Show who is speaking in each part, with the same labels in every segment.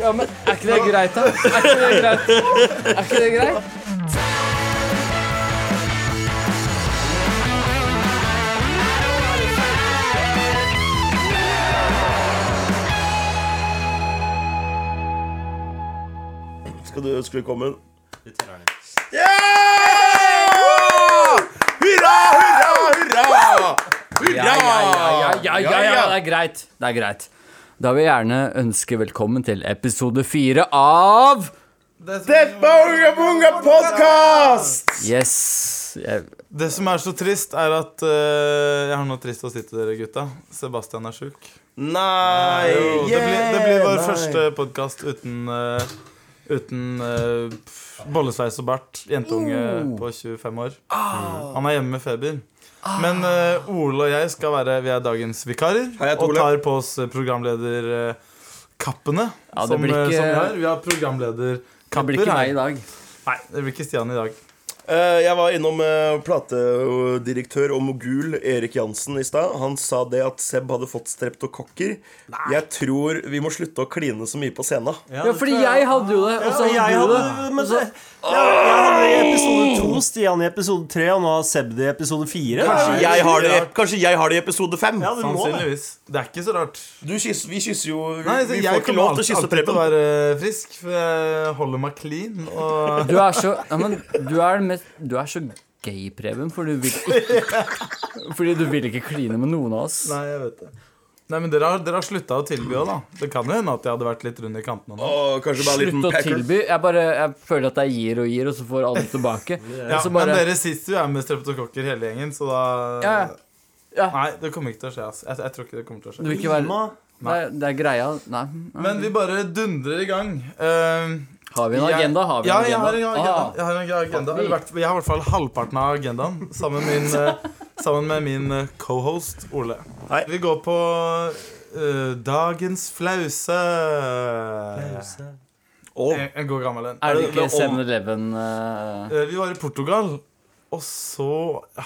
Speaker 1: Ja, men er ikke det greit, da? Er ikke det greit? Er ikke det greit?
Speaker 2: Skal du ønske velkommen?
Speaker 3: Du teller den.
Speaker 2: Hurra, hurra, hurra!
Speaker 1: Ja, ja, ja, ja, ja, ja, det er greit. Det er greit. Da vil jeg gjerne ønske velkommen til episode fire av
Speaker 2: Det er Bunga Bunga Podcast!
Speaker 1: Yes. Jeg,
Speaker 4: Det som er så trist, er at eh, Jeg har noe trist å si til dere, gutta. Sebastian er sjuk.
Speaker 2: Nei
Speaker 4: Jo, det, blir, det blir vår
Speaker 2: yeah,
Speaker 4: første podkast uten eh, Uten eh, pff, bollesveis og bart. Jentunge
Speaker 5: Oh.
Speaker 4: på 25 år.
Speaker 5: Ah.
Speaker 4: Han er hjemme med feber. Men eh, Ole og jeg skal være Vi er dagens vikarer
Speaker 2: Hei, jeg heter
Speaker 4: og
Speaker 2: Ole.
Speaker 4: tar på oss eh, programlederkappene.
Speaker 1: Ja, det
Speaker 4: som,
Speaker 1: blir
Speaker 4: eh,
Speaker 1: ikke-
Speaker 4: som vi har. Vi har
Speaker 1: det
Speaker 4: programlederkapper
Speaker 1: blir ikke meg
Speaker 4: her.
Speaker 1: i dag.
Speaker 4: Nei, det blir ikke Stian i dag.
Speaker 2: Eh, Jeg var innom eh, platedirektør og mogul Erik Jansen i stad. Han sa det at Seb hadde fått streptokokker. Jeg tror vi må slutte å kline så mye på scenen.
Speaker 1: Ja, fordi jeg hadde jo det, og så hadde du det.
Speaker 5: men det, jeg, jeg hadde det i episode to, Stian i episode tre, og nå har Seb det i episode fire.
Speaker 2: Kanskje jeg har det, kanskje jeg har det i episode fem.
Speaker 5: Ja, du må det.
Speaker 4: Sannsynligvis. Det er ikke så rart.
Speaker 2: Du kysser, vi kysser jo Vi,
Speaker 4: Nei,
Speaker 2: vi
Speaker 4: jeg
Speaker 2: får ikke lov til å
Speaker 4: alltid,
Speaker 2: kysse
Speaker 4: alltid til å
Speaker 2: Preben.
Speaker 4: være eh, frisk, for jeg holder meg clean. Og
Speaker 1: Du er så ja, men, du, er den mest, du er så gay, Preben, for du vil ikke Fordi du vil ikke kline med noen av oss.
Speaker 4: Nei, jeg vet det. Nei, men Dere har, dere har slutta å tilby òg, da. Det kan jo hende at jeg hadde vært litt rund i kantene. nå.
Speaker 2: Å, kanskje bare en liten
Speaker 1: Slutt å
Speaker 2: pecker.
Speaker 1: tilby. Jeg, bare, jeg føler at jeg gir og gir, og så får alle tilbake.
Speaker 4: Ja,
Speaker 1: Og så
Speaker 4: Men
Speaker 1: bare
Speaker 4: dere sitter jo her med streptokokker hele gjengen, så da
Speaker 1: Ja, ja. Ja.
Speaker 4: Nei, det kommer ikke til å skje. ass. Jeg, jeg tror ikke det kommer til å skje.
Speaker 1: Du vil ikke være
Speaker 5: Ima,
Speaker 1: Det er, det er greia. Nei.
Speaker 4: Men vi bare dundrer i gang. Eh,
Speaker 1: Har vi en
Speaker 4: jeg-
Speaker 1: agenda? Har vi
Speaker 4: ja,
Speaker 1: en
Speaker 4: jeg har
Speaker 1: agenda?
Speaker 4: en
Speaker 1: Ah.
Speaker 4: agenda. Jeg har en agenda.
Speaker 1: Fuck me.
Speaker 4: Eller hvert- Jeg har i hvert fall halvparten av agendaen sammen med min, eh, sammen med min eh, co-host Ole.
Speaker 2: Hei.
Speaker 4: Vi går på eh, Dagens flause.
Speaker 2: Å,
Speaker 4: En, en god gammel en.
Speaker 1: Er det
Speaker 2: det
Speaker 1: ikke
Speaker 2: om-
Speaker 1: 7-Eleven eh,
Speaker 4: Eh, Vi var i Portugal, og så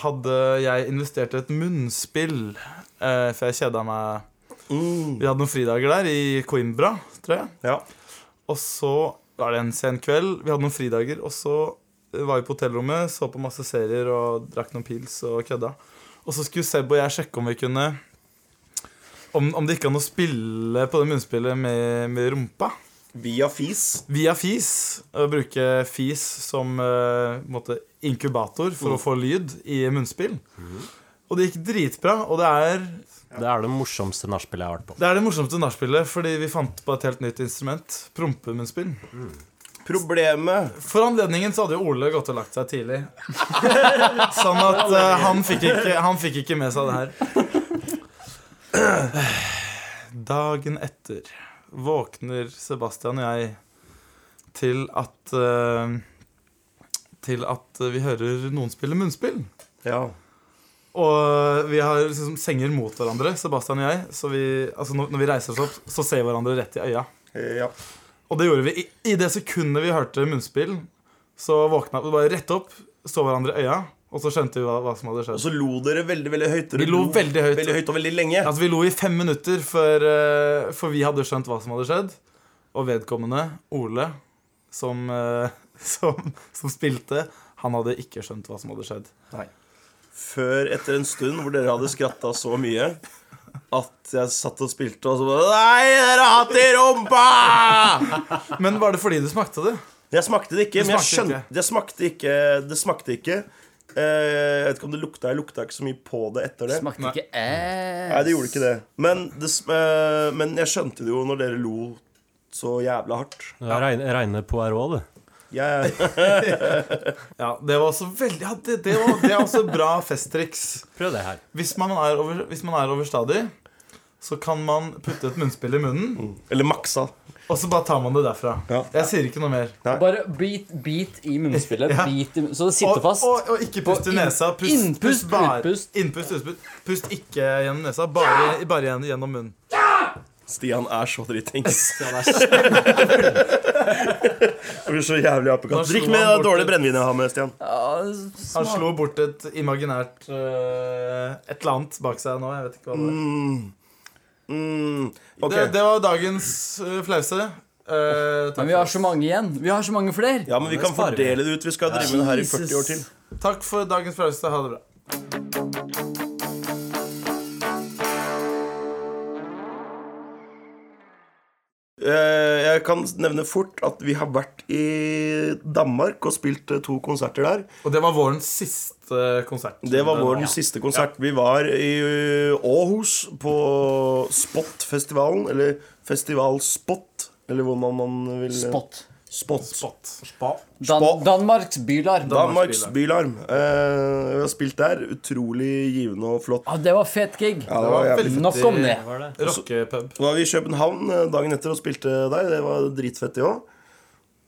Speaker 4: hadde jeg investert i et munnspill, eh, for jeg kjeda meg. Vi hadde noen fridager der, i Coimbra, tror jeg.
Speaker 2: Ja.
Speaker 4: Og så var det en sen kveld. Vi hadde noen fridager. Og så var vi på hotellrommet, så på masse serier og drakk noen pils og kødda. Og så skulle Seb og jeg sjekke om vi kunne Om, om det gikk an å spille på det munnspillet med, med rumpa.
Speaker 2: Via fis.
Speaker 4: Via fis. Å bruke fis som eh, på en måte, inkubator for å få lyd i munnspill. Og det gikk dritbra. Og det er
Speaker 5: Det er det morsomste nachspielet jeg har vært på.
Speaker 4: det, er det morsomste nachspielet, fordi vi fant på et helt nytt instrument. Prompemunnspill.
Speaker 2: Problemet
Speaker 4: For anledningen så hadde jo Ole gått og lagt seg tidlig. sånn at eh, han, fikk ikke, han fikk ikke med seg det her. Dagen etter våkner Sebastian og jeg til at eh, Til at vi hører noen spille munnspill.
Speaker 2: Ja.
Speaker 4: Og vi har liksom senger mot hverandre, Sebastian og jeg. Så vi, altså når, når vi reiser oss opp, så ser vi hverandre rett i øya.
Speaker 2: ja.
Speaker 4: Og det gjorde vi. I, i det sekundet vi hørte munnspill, så våkna vi bare rett opp, så hverandre i øya, og så skjønte vi hva, hva som hadde
Speaker 2: Og
Speaker 4: skjedd.
Speaker 2: så lo dere veldig, veldig høyt. Dere
Speaker 4: Vi lo veldig høyt.
Speaker 2: veldig høyt og veldig lenge.
Speaker 4: Altså, vi lo i fem minutter, for, eh, for vi hadde skjønt hva som hadde skjedd. Og vedkommende, Ole, som, eh, som, som spilte, han hadde ikke skjønt hva som hadde skjedd.
Speaker 2: Før etter en stund hvor dere hadde skratta så mye at jeg satt og spilte, og så bare Nei, dere har hatt i rumpa!
Speaker 4: Men var det fordi du smakte det?
Speaker 2: Jeg smakte det ikke,
Speaker 4: Det
Speaker 2: men jeg
Speaker 4: smakte
Speaker 2: skjønte
Speaker 4: ikke.
Speaker 2: Det smakte ikke. Det smakte ikke. Eh, jeg vet ikke om det lukta. Jeg lukta ikke så mye på det etter det.
Speaker 1: Smakte ikke Eh.
Speaker 2: Nei,
Speaker 1: ass.
Speaker 2: det gjorde ikke det. Men, det, sm- eh, men jeg skjønte det jo når dere lo så jævla hardt.
Speaker 5: Du er reine, reine Poirot, du.
Speaker 2: Jeg,
Speaker 4: Ja, det var også veldig ja, det, det, var, det er også bra festtriks.
Speaker 5: Prøv det her.
Speaker 4: Hvis man er, over, hvis man er overstadig, så kan man putte et munnspill i munnen.
Speaker 2: eller maksa.
Speaker 4: Og så bare tar man det derfra.
Speaker 2: Ja.
Speaker 4: Jeg sier ikke noe mer.
Speaker 1: Bare bit, bit i munnspillet.
Speaker 4: Ja.
Speaker 1: Bit i, mun- så det
Speaker 4: Og,
Speaker 1: sitter fast.
Speaker 4: og, og ikke pust
Speaker 1: Og
Speaker 4: i
Speaker 1: inn-
Speaker 4: nesa. Pust,
Speaker 1: innpust,
Speaker 4: pust bare-
Speaker 1: utpust.
Speaker 4: Innpust, utpust. Pust ikke gjennom nesa, bare, bare gjennom, gjennom munnen.
Speaker 2: Stian er så dritings. Jeg blir så jævlig
Speaker 4: Da
Speaker 2: apekatt.
Speaker 4: slo
Speaker 2: Drikk med
Speaker 4: han bort
Speaker 2: dårlig
Speaker 4: et-
Speaker 2: brennevin jeg har med, Stian.
Speaker 1: Ja,
Speaker 4: Han
Speaker 1: smak-
Speaker 4: slo bort eh, et imaginært øh, et eller annet bak seg nå. Jeg vet ikke hva det var.
Speaker 2: Mm. Ok.
Speaker 4: Det, det var dagens eh, flause. Eh, takk,
Speaker 1: Men vi har
Speaker 4: for
Speaker 1: så
Speaker 4: oss.
Speaker 1: mange igjen. Vi har så mange flere.
Speaker 2: Ja, men vi kan
Speaker 1: sparer vi.
Speaker 2: fordele det ut. Vi skal drive med det her i 40 år til.
Speaker 4: takk for dagens flause. Ha det bra.
Speaker 2: Eh, Jeg kan nevne fort at vi har vært i Danmark og spilt eh, to konserter der.
Speaker 4: Og det var vårens siste eh, konsert.
Speaker 2: Det var vår
Speaker 4: Ja.
Speaker 2: siste konsert. Vi var i ø, Åhus på Spot-festivalen. Eller Festival Spot, eller hvor man, man vil
Speaker 1: Spot.
Speaker 2: Spot.
Speaker 4: Spot.
Speaker 1: Dan
Speaker 2: Spot.
Speaker 1: Danmarks bylarm.
Speaker 2: Danmarks Bylarm. Eh, vi har spilt der. Utrolig givende og flott.
Speaker 1: Ah, det var fet gig.
Speaker 2: Ja, det var jævlig
Speaker 4: veldig
Speaker 1: Nok om det.
Speaker 5: Hva er det?
Speaker 4: Rockepub.
Speaker 2: Så var vi i København eh, dagen etter og spilte der. Det var dritfett, det òg.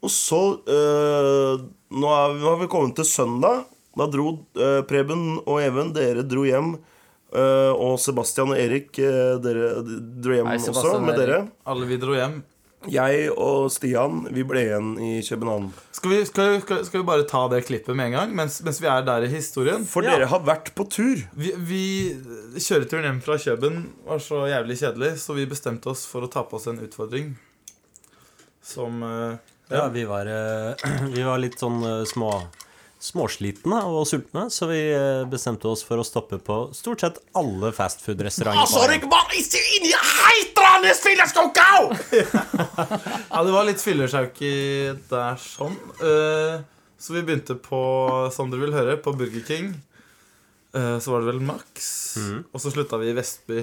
Speaker 2: Og så eh, nå, er vi, nå har vi kommet til søndag. Da dro eh, Preben og Even, dere dro hjem. eh, og Sebastian og Erik, eh, dere d- dro hjem
Speaker 1: Hei,
Speaker 2: også
Speaker 1: Sebastian og
Speaker 2: med dere.
Speaker 1: Erik.
Speaker 4: Alle vi dro hjem.
Speaker 2: Jeg og Stian, vi ble igjen i København.
Speaker 4: Skal vi, skal, skal, skal vi bare ta det klippet med en gang, mens, mens vi er der i historien?
Speaker 2: For dere har vært på tur.
Speaker 4: Vi, vi Kjøreturen hjem fra Kjøben var så jævlig kjedelig, så vi bestemte oss for å ta på oss en utfordring. Som eh,
Speaker 5: Ja, vi var, eh, vi var litt sånn eh, små, småslitne og sultne, så vi eh, bestemte oss for å stoppe på stort sett alle fastfood-restauranter.
Speaker 4: Ja, det var litt fyllersjauki der sånn. Eh, så vi begynte på, som dere vil høre, på Burger King. Eh, så var det vel Max.
Speaker 2: Mhm.
Speaker 4: Og så slutta vi i Vestby.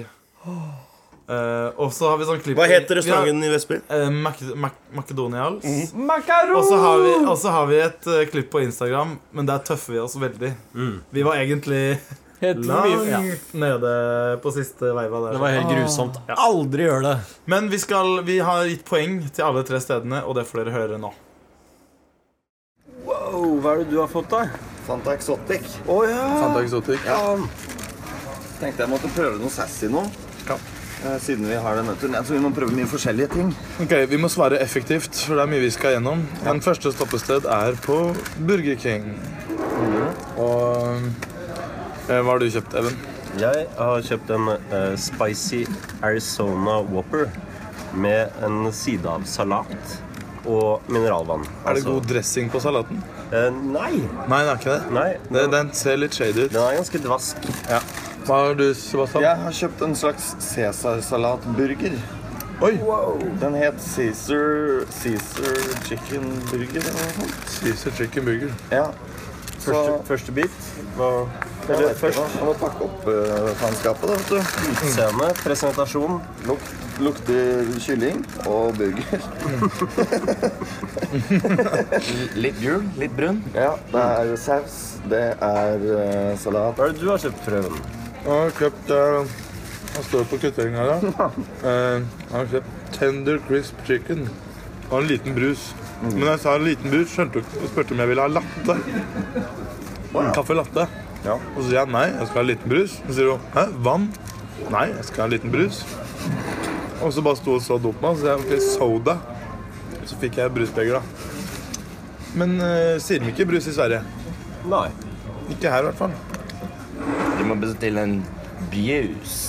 Speaker 4: Eh, og så har vi sånn klipp
Speaker 2: Hva heter
Speaker 4: Vi
Speaker 2: restauranten i Vestby?
Speaker 4: har, eh, Mac Mac Macedonials.
Speaker 5: Mhm.
Speaker 4: Og så har vi, og så har vi et eh, klipp på Instagram, men der tøffer vi oss veldig.
Speaker 5: Mm.
Speaker 4: Vi var egentlig
Speaker 1: Helt
Speaker 4: langt
Speaker 1: mye.
Speaker 4: nede på siste veiva der.
Speaker 5: Det var helt grusomt. Aldri gjør det!
Speaker 4: Men vi, skal, vi har gitt poeng til alle tre stedene, og det får dere høre nå.
Speaker 3: Hva er det du har fått deg?
Speaker 6: Fanta Exotic.
Speaker 3: Å ja!
Speaker 6: Fanta Exotic. Ja. Tenkte jeg måtte prøve noe sassy nå. Eh, Siden vi har den møtet. Så vi må prøve mye forskjellige ting.
Speaker 4: Ok, Vi må svare effektivt, for det er mye vi skal gjennom. Men første stoppested er på Burger King.
Speaker 5: Mm.
Speaker 4: Og eh, hva har du kjøpt, Even?
Speaker 5: Jeg har kjøpt en eh, spicy Arizona Whopper med en side av salat og mineralvann. Altså,
Speaker 4: Er det god dressing på salaten?
Speaker 5: Eh, nei!
Speaker 4: Nei, det er ikke det.
Speaker 5: Nei.
Speaker 4: det den ser litt shady ut.
Speaker 5: Den er ganske dvask.
Speaker 4: Hva har du, Sebastian?
Speaker 6: Jeg har kjøpt en slags Cæsarsalatburger.
Speaker 4: Oi!
Speaker 6: Den het Caesar, Caesar Chicken Burger eller noe sånt.
Speaker 4: Caesar chicken burger.
Speaker 6: Ja. Så
Speaker 5: Første, første bit.
Speaker 6: eller, først Jeg må pakke opp uh, faenskapet, da, vet du.
Speaker 5: Scene, presentasjon.
Speaker 6: Lukt, lukter kylling og burger.
Speaker 3: Litt gul, litt brun.
Speaker 6: Ja, det er saus, det er eh, salat
Speaker 5: Hva er det du har kjøpt, Prøven?
Speaker 4: Jeg har kjøpt eh, Han står på kvitteringa her, da. Eh, Jeg har kjøpt Tender Crisp Chicken. Og en liten brus. Men jeg sa en liten brus, skjønte du spurte om jeg ville ha latte. En kaffe latte.
Speaker 6: Ja.
Speaker 4: Og så sier jeg nei, jeg skal ha en liten brus. Så sier hun hæ, vann? Nei, jeg skal ha en liten brus. Og så bare sto hun så dumt på meg, så sier jeg ok, soda. Så fikk jeg brusbeger, da. Men eh, sier de ikke brus i Sverige?
Speaker 5: Nei.
Speaker 4: Ikke her, i hvert fall.
Speaker 3: Du må bestille en bjus.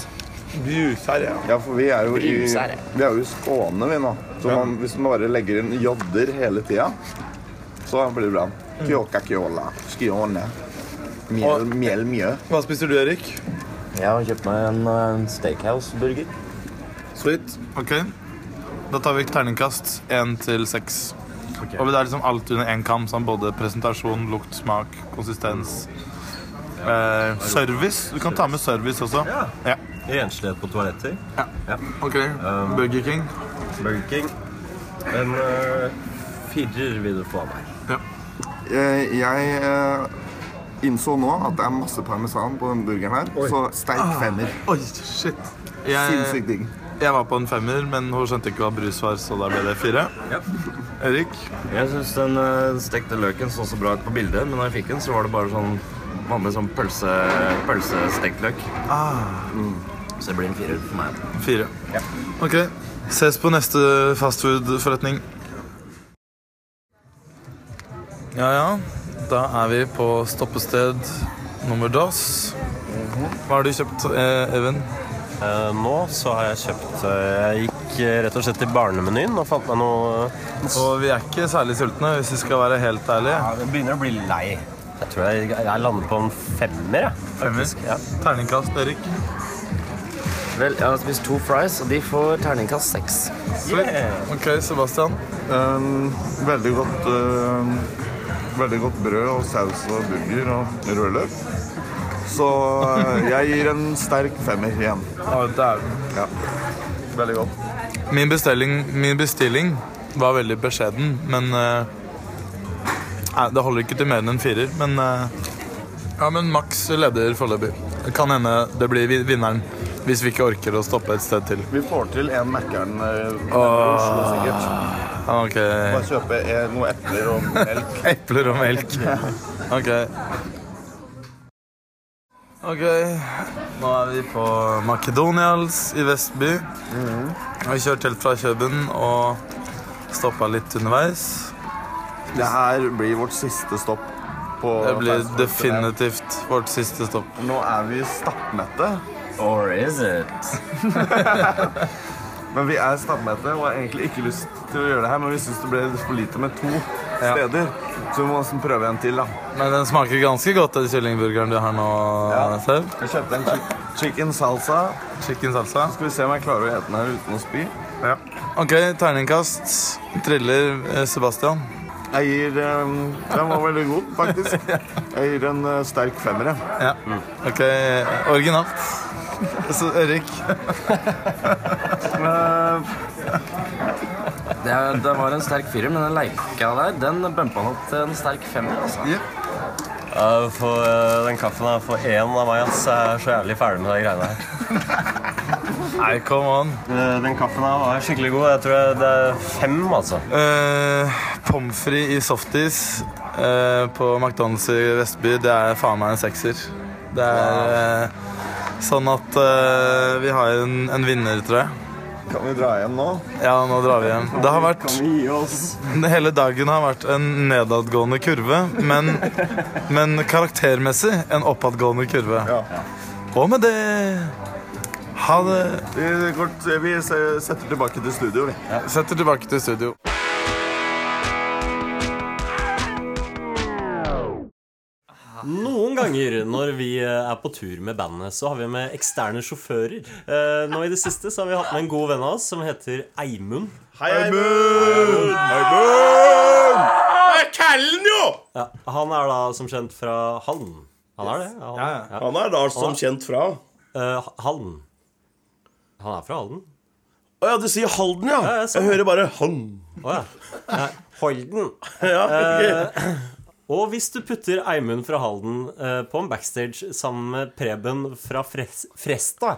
Speaker 4: Brus her, ja.
Speaker 6: Ja, for vi er jo i,
Speaker 3: Brus er det.
Speaker 6: vi er jo i Skåne, vi nå. Så
Speaker 4: Ja.
Speaker 6: man, hvis man bare legger inn jodder hele tida, så blir det bra. Kjåka kjåla, skjåne. Mjell,
Speaker 4: Og-
Speaker 6: mjell, mjø.
Speaker 4: Hva spiser du, Erik?
Speaker 3: Jeg har kjøpt meg en eh, steakhouse-burger.
Speaker 4: Sweet. Ok. Da tar vi terningkast én til seks. Og det er liksom alt under én kam. Sånn både presentasjon, lukt, smak, konsistens. Eh, service. Du kan ta med service også. Ja.
Speaker 5: Renslighet på toaletter.
Speaker 4: Ok.
Speaker 3: Um,
Speaker 4: Burger King.
Speaker 5: Burger King. En eh, firer vil du få av meg.
Speaker 6: Eh, Jeg eh, innså nå at det er masse parmesan på den burgeren her, så sterk femmer.
Speaker 4: Oi, shit. Jeg,
Speaker 6: Sinnssykt digg.
Speaker 4: jeg var på en femmer, men hun skjønte ikke hva brus var, så da ble det fire. Erik?
Speaker 3: Jeg syns den eh, stekte løken så så bra ut på bildet, men da jeg fikk den, så var det bare sånn vanlig sånn pølse, pølsestekt løk. Mm. Så det blir en firer for meg.
Speaker 4: Ah. Fire. Ok. Ses på neste fastfood-forretning. Ja, ja. Da er vi på
Speaker 3: Mhm.
Speaker 4: stoppested nummer dos. Hva har du kjøpt, eh, Even?
Speaker 5: Eh, Nå så har jeg kjøpt eh, Jeg gikk eh, rett og slett til barnemenyen og fant meg noe
Speaker 4: Og vi er ikke særlig sultne, hvis vi skal være helt ærlige.
Speaker 5: Jeg begynner å bli lei. Jeg tror jeg, jeg lander på en femmer, jeg. Faktisk. Ja.
Speaker 4: Terningkast, Erik.
Speaker 3: Vel, jeg har spist to fries, og de får terningkast seks.
Speaker 4: Sweet. Ok, Sebastian.
Speaker 6: Um, veldig godt eh, Veldig godt brød og saus og burger og rødløk. Så eh, jeg gir en sterk femmer igjen.
Speaker 4: Ja, dæven.
Speaker 6: Ja. Veldig godt.
Speaker 4: Min bestilling, min bestilling var veldig beskjeden, men eh, nei, Det holder ikke til mer enn en firer, men eh, Ja, men Max leder foreløpig. Det Kan hende det blir vi- vinneren hvis vi ikke orker å stoppe et sted til.
Speaker 6: Vi får til en Mækkern eh, nede i Oslo, sikkert.
Speaker 4: Ok.
Speaker 6: Bare kjøpe eh, noe epler og melk.
Speaker 4: Epler og melk. Ok. Ok, nå er vi på Makedonials i Vestby. Mm. Vi kjørte helt fra Kjøben og stoppa litt underveis.
Speaker 6: Det her blir vårt siste stopp. På
Speaker 4: Det blir
Speaker 6: Fastfood-turen.
Speaker 4: definitivt vårt siste stopp.
Speaker 6: Nå er vi stappmette,
Speaker 3: Or is it?
Speaker 6: men vi er stappmette og har egentlig ikke lyst til å gjøre det her. Men vi syns det ble for lite med to steder, så vi må nesten prøve en til. da
Speaker 4: Men den smaker ganske godt, den kyllingburgeren du har nå,
Speaker 6: Ja.
Speaker 4: Sev.
Speaker 6: Jeg kjøpte en chi- chicken salsa.
Speaker 4: Chicken salsa.
Speaker 6: Skal vi se om jeg klarer å ete den her uten å spy.
Speaker 4: Ok, terningkast. Triller eh, Sebastian.
Speaker 6: Jeg gir um, Den var veldig god, faktisk. Jeg gir en eh, sterk femmer. jeg.
Speaker 4: Ja. Ok, eh, originalt. Så Erik.
Speaker 3: Det, det var en sterk firer, men den leika der, den bumpa han opp til en sterk femmer, altså.
Speaker 5: Eh, for, eh, den kaffen her får én av meg, ass. Jeg er så jævlig ferdig med de greiene her.
Speaker 4: Nei, come on.
Speaker 5: Eh, Den kaffen her var skikkelig god. Jeg tror jeg- det er fem, altså.
Speaker 4: Eh, Pommes frites i softis eh, på McDonald's i Vestby, det er faen meg en sekser. Det er eh, sånn at eh, vi har en, en vinner, tror jeg.
Speaker 6: Kan vi dra hjem nå?
Speaker 4: Ja, nå drar vi hjem. Det har vært
Speaker 6: Kan vi gi oss?
Speaker 4: Hele dagen har vært en nedadgående kurve, men, men karaktermessig en oppadgående kurve.
Speaker 6: Ja.
Speaker 4: Og med det Ha det.
Speaker 6: Vi, kort, eh, vi se- setter tilbake til studio, vi.
Speaker 4: Setter tilbake til studio.
Speaker 5: Noen ganger når vi eh, er på tur med bandet, så har vi med eksterne sjåfører. Eh, Nå i det siste så har vi hatt med en god venn av oss som heter Eimund.
Speaker 2: Hei, Eimund! Det er Kallen, jo!
Speaker 5: Ja, han er da som kjent fra Hallen. Han er det? Ja, han, ja.
Speaker 2: Han er da som kjent fra Å
Speaker 5: Eh, Hallen. Han er fra Halden?
Speaker 2: ja, du sier Halden, ja? sånn.
Speaker 5: Ja, jeg sa
Speaker 2: Jeg hører bare Han.
Speaker 5: Å ja. Nei, Halden.
Speaker 2: Ja, ok.
Speaker 5: Og hvis du putter Eimund fra Halden eh, på en backstage sammen med Preben fra Fres Fresta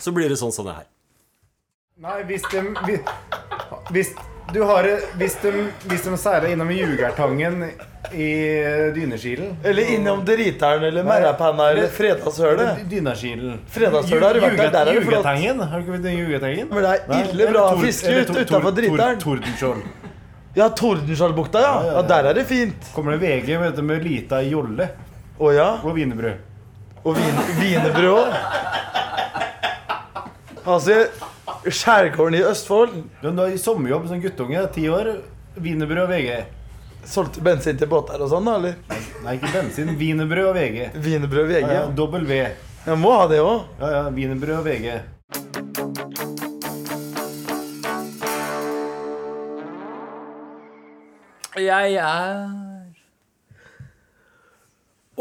Speaker 5: Så blir det sånn som det her.
Speaker 7: Nei, hvis de hvi- Hvis du har Hvis de, hvis de seiler innom Jugertangen i eh, Dyneskilen
Speaker 4: Eller innom driteren eller merrapanna eller fredagshølet.
Speaker 7: Dynaskilen.
Speaker 4: Fredagshølet har du vært der. Der er det flott.
Speaker 7: Jugetangen? Har du ikke vært i Jugertangen?
Speaker 4: Men det er
Speaker 7: Nei,
Speaker 4: ille bra
Speaker 7: eller Tor-
Speaker 4: fiske
Speaker 7: eller
Speaker 4: ut
Speaker 7: Tor- Tor-
Speaker 4: utenfor
Speaker 7: Tor-
Speaker 4: driteren.
Speaker 7: Tordenskjold.
Speaker 4: Ja, Tordenskjoldbukta, ja. ja. Der er det fint.
Speaker 7: Kommer det VG vet du, med lita jolle
Speaker 4: Å ja.
Speaker 7: og wienerbrød?
Speaker 4: Og vin wienerbrød òg. Altså, skjærgården i Østfold
Speaker 7: Du du har sommerjobb som guttunge, ti år. Wienerbrød og VG.
Speaker 4: solgte bensin til båter og sånn, da, eller?
Speaker 7: Nei, ikke bensin. Wienerbrød og VG.
Speaker 4: Wienerbrød VG.
Speaker 7: Ja, ja, Dobbel V.
Speaker 4: Jeg må ha det òg.
Speaker 7: Ja, ja, Wienerbrød og VG.
Speaker 1: Jeg er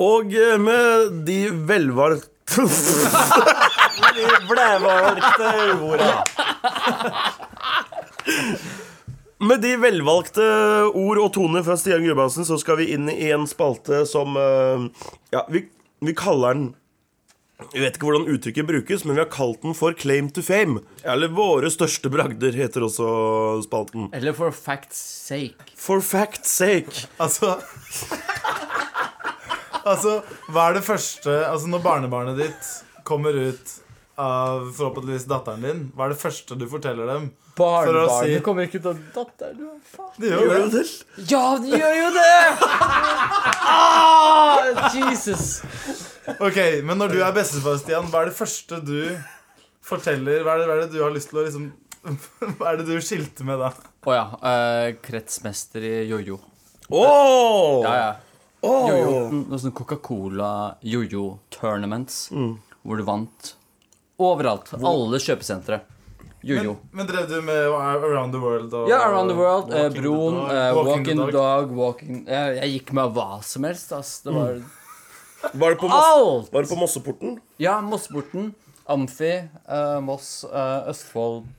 Speaker 2: Og eh, med de velvalgte
Speaker 5: Blævalgte orda.
Speaker 2: Med de velvalgte ord og toner fra Stian Grubhansen, så skal vi inn i en spalte som eh, Ja, vi, vi kaller den Jeg vet ikke hvordan uttrykket brukes, men vi har kalt den for Claim to fame. Eller Våre største bragder, heter også spalten.
Speaker 1: Eller for facts sake.
Speaker 2: For fact's sake.
Speaker 4: Altså Altså, hva er det første Altså, når barnebarnet ditt kommer ut av forhåpentligvis datteren din, hva er det første du forteller dem?
Speaker 1: Barnebarnet
Speaker 4: si-
Speaker 1: kommer ikke ut av datteren. du, Faen.
Speaker 4: Det gjør
Speaker 2: Gjør du det?
Speaker 1: Ja, de gjør jo det! Ah, Jesus.
Speaker 4: Ok, Men når du er bestefar, Stian, hva er det første du forteller? Hva er det, hva er det du har lyst til å liksom Hva er det du skilte med da?
Speaker 1: Å ja. eh, kretsmester i jojo.
Speaker 2: Åh!
Speaker 1: Ja, ja. Jojo, noe sånn Coca-Cola jojo-tournaments, hvor du vant overalt. Alle kjøpesentre. Jojo.
Speaker 4: Men drev du med Around the World og
Speaker 1: Ja, Around the World, eh,
Speaker 5: Walking
Speaker 1: Broen,
Speaker 5: the Dog.
Speaker 1: eh,
Speaker 4: Walking
Speaker 1: Walking
Speaker 4: the
Speaker 1: the Dog walking, jeg, jeg gikk med hva som helst, ass. Det var
Speaker 2: Var det på, Moss,
Speaker 1: alt!
Speaker 2: var det på Mosseporten?
Speaker 1: Ja, Mosseporten, Amfi, eh, Moss, eh, Østfold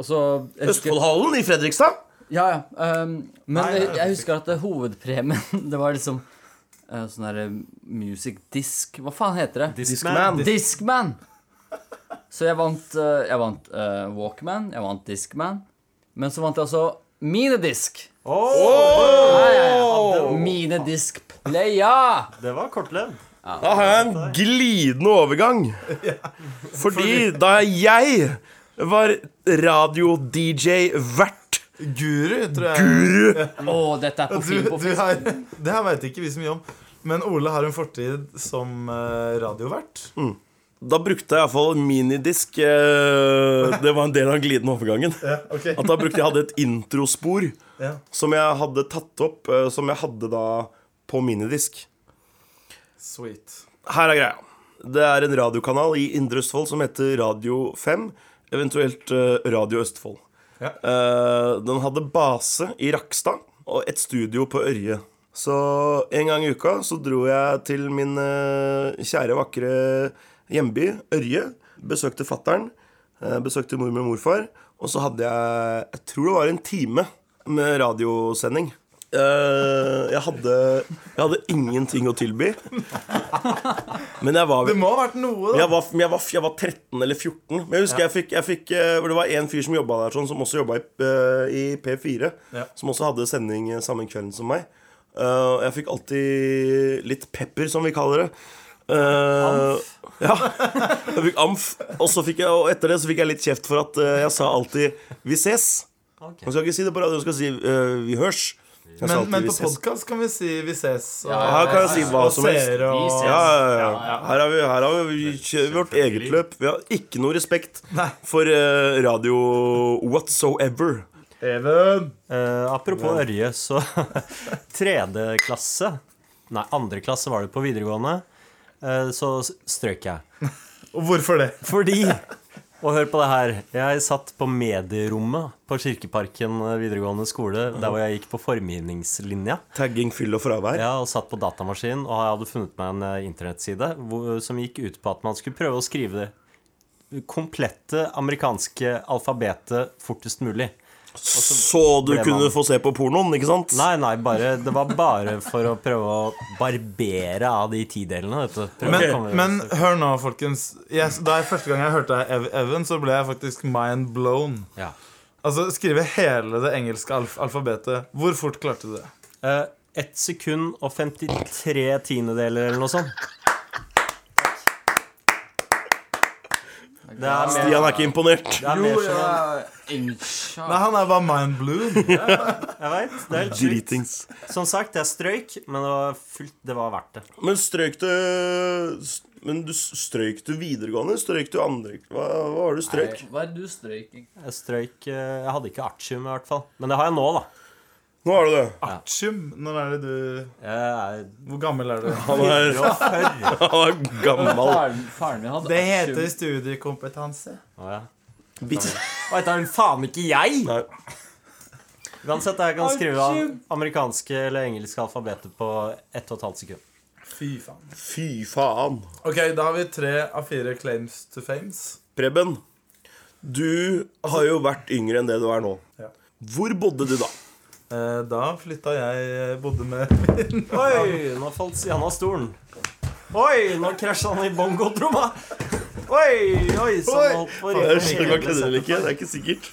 Speaker 1: Og så jeg husker-
Speaker 2: Østfoldhallen i Fredrikstad?
Speaker 1: Ja, ja. ehm, men jeg, jeg husker at det, hovedpremien, det var liksom eh, sånn derre music disk Hva faen heter det?
Speaker 5: Discman.
Speaker 1: Discman! Så jeg vant, eh, jeg vant eh, Walkman, jeg vant Discman. Men så vant jeg også minidisk. Ja, ja, ja. Minidisk Play, ja!
Speaker 5: Det var kortlevd.
Speaker 2: Da har jeg en glidende overgang. Fordi da jeg var radio-DJ-vert
Speaker 4: Guru, tror jeg.
Speaker 1: Å, dette er på
Speaker 4: Du,
Speaker 1: film på
Speaker 4: du har, det her veit ikke vi så mye om. Men Ole har en fortid som eh, radiovert.
Speaker 2: Mm. Da brukte jeg iallfall minidisk eh, Det var en del av den glidende overgangen.
Speaker 4: ok.
Speaker 2: At da brukte jeg hadde et introspor
Speaker 4: Ja.
Speaker 2: som jeg hadde tatt opp, eh, som jeg hadde da på minidisk.
Speaker 4: Sweet.
Speaker 2: Her er greia. Det er en radiokanal i Indre Østfold som heter Radio 5, eventuelt eh, Radio Østfold.
Speaker 4: Ja.
Speaker 2: Eh, den hadde base i Rakstad og et studio på Ørje. Så en gang i uka så dro jeg til min eh, kjære, vakre hjemby, Ørje. Besøkte fattern, eh, besøkte mormor og morfar. Og så hadde jeg Jeg tror det var en time med radiosending. Eh, jeg, hadde, jeg hadde ingenting å tilby. Men jeg var
Speaker 4: Det må ha vært noe, da.
Speaker 2: jeg var, men jeg, var, jeg var 13 eller 14. Men jeg husker jeg fikk, jeg fikk eh, hvor Det var en fyr som jobba der, sånn, som også jobba i, eh, i P4.
Speaker 4: Ja.
Speaker 2: Som også hadde sending eh, samme kvelden som meg. Eh, og jeg fikk alltid litt pepper, som vi kaller det. Eh, ja, jeg fikk amf. Og, så fikk jeg, og etter det så fikk jeg litt kjeft for at eh, jeg sa alltid 'vi ses'. Man skal ikke si det på radio, man skal si eh, 'vi hørs'. Jeg sa
Speaker 4: Men,
Speaker 2: alltid
Speaker 4: men
Speaker 2: «vi
Speaker 4: på
Speaker 2: ses».
Speaker 4: podkast kan vi si 'vi ses'. Og,
Speaker 2: Ja, Her kan jeg si hva
Speaker 4: og
Speaker 2: som helst.
Speaker 4: seere og-
Speaker 1: Vi ses.
Speaker 2: Ja, ja, ja. Her har vi, her har vi kjørt vårt eget løp. Vi har ikke noe respekt
Speaker 4: Nei.
Speaker 2: for eh, radio whatsoever.
Speaker 5: Eh, apropos Ørje, så tredje klasse Nei, andre klasse var det på videregående. eh, så s- strøk jeg.
Speaker 4: Og hvorfor det?
Speaker 5: Fordi Og hør på det her. Jeg satt på medierommet på Kirkeparken eh, videregående skole, der hvor jeg gikk på formgivningslinja.
Speaker 2: Tagging, fyll og fravær.
Speaker 5: Ja, og satt på datamaskin, og jeg hadde funnet meg en eh, internettside hvor, som gikk ut på at man skulle prøve å skrive det komplette amerikanske alfabetet fortest mulig.
Speaker 2: Så du
Speaker 5: altså, ble man-
Speaker 2: kunne få se på pornoen, ikke sant?
Speaker 5: Nei, nei, bare, det var bare for å prøve å barbere av de tidelene, vet du. Prøve å
Speaker 4: Men,
Speaker 5: komme-
Speaker 4: men hør nå, folkens. Jeg, da jeg første gang jeg hørte deg, Ev- Evan, så ble jeg faktisk mind blown.
Speaker 5: ja.
Speaker 4: Altså, Skrive hele det engelske alf alfabetet. Hvor fort klarte du det?
Speaker 5: Eh, Ett sekund og 53 tiendedeler eller noe sånt. Det er mer,
Speaker 2: Stian er ikke imponert.
Speaker 5: det er mer generelt.
Speaker 4: Nei, Han er bare mind blown.
Speaker 5: Jeg vet, det er helt sjukt.
Speaker 2: Dritings.
Speaker 5: Som sagt, jeg strøyk, men det var, fullt, det var verdt det.
Speaker 2: Men strøyk du Men du strøyk du videregående? Strøyk du andre Hva, hva var det du strøyk?
Speaker 1: Hva er det du strøyk?
Speaker 5: Jeg strøyk eh, Jeg hadde ikke artium, i hvert fall. Men det har jeg nå, da.
Speaker 2: Nå har du det.
Speaker 4: Artium. Når er det du
Speaker 5: Jeg
Speaker 4: Hvor gammel er du?
Speaker 2: Han er,
Speaker 5: er før.
Speaker 2: han er Ah, gammel.
Speaker 1: Faren, faren min hadde
Speaker 4: Det heter studiekompetanse.
Speaker 5: Å, ja.
Speaker 2: Bitt.
Speaker 5: Å, dette er faen ikke jeg!
Speaker 2: Nei.
Speaker 5: Uansett, jeg kan skrive av amerikanske eller engelske alfabetet på ett og et halvt sekund.
Speaker 4: Fy faen.
Speaker 2: Fy faen.
Speaker 4: Ok, Da har vi tre av fire claims to fames.
Speaker 2: Preben, du har jo vært yngre enn det du er nå.
Speaker 4: Ja.
Speaker 2: Hvor bodde du da?
Speaker 4: Eh, da flytta jeg eh, bodde med
Speaker 5: Oi, nå falt Stian av stolen. Oi, nå krasja han i bongotromma. Oi, oi, så
Speaker 4: Oi.
Speaker 5: han holdt på å
Speaker 2: Jeg
Speaker 5: rive
Speaker 2: skjønner ikke,
Speaker 5: hele
Speaker 2: det
Speaker 5: settet.
Speaker 2: eller ikke, det er ikke sikkert.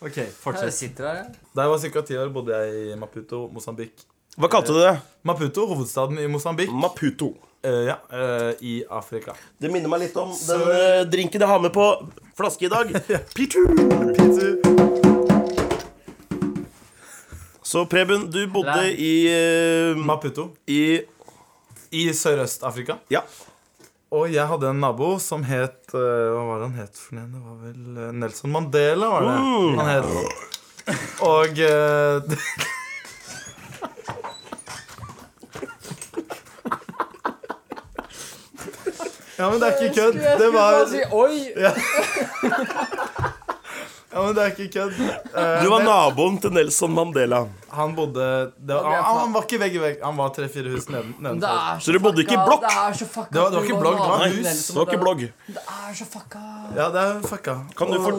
Speaker 5: Ok,
Speaker 1: Jeg
Speaker 5: fortsett.
Speaker 1: sitter her, jeg.
Speaker 4: Da jeg var ca. ti år, bodde jeg i Maputo, Mosambik.
Speaker 2: Hva kalte du det?
Speaker 4: Maputo, hovedstaden i Mosambik,
Speaker 2: Maputo.
Speaker 4: eh, ja, eh, i Afrika.
Speaker 2: Det minner meg litt om den eh, drinken jeg har med på flaske i dag. Pitu. Så Preben, du bodde
Speaker 1: Nei.
Speaker 2: i eh,
Speaker 4: Maputo.
Speaker 2: i
Speaker 4: I Sørøst-Afrika.
Speaker 2: Ja.
Speaker 4: Og jeg hadde en nabo som het eh, Hva var det han het for noe? Det var vel eh, Nelson Mandela, var det? Han het Og eh, Ja, men det er ikke kødd. Det var
Speaker 1: si oi!
Speaker 4: Ja, men det er ikke kødd. Eh,
Speaker 2: Du var naboen til Nelson Mandela.
Speaker 4: han bodde det var, han, han var ikke vegg i vegg. Han var tre-fire hus neden-
Speaker 1: Det
Speaker 4: nedenfor.
Speaker 1: er
Speaker 2: Så du bodde ikke i
Speaker 1: fucka-
Speaker 2: blokk?
Speaker 1: Det er så fucka
Speaker 4: Det var- det var ikke blokk, det var
Speaker 1: Nei,
Speaker 4: hus.
Speaker 1: Nelson
Speaker 2: Det var ikke
Speaker 1: Mandela.
Speaker 2: blogg.
Speaker 1: Det er så fucka.
Speaker 4: Ja, det er fucka.
Speaker 2: Kan du, for,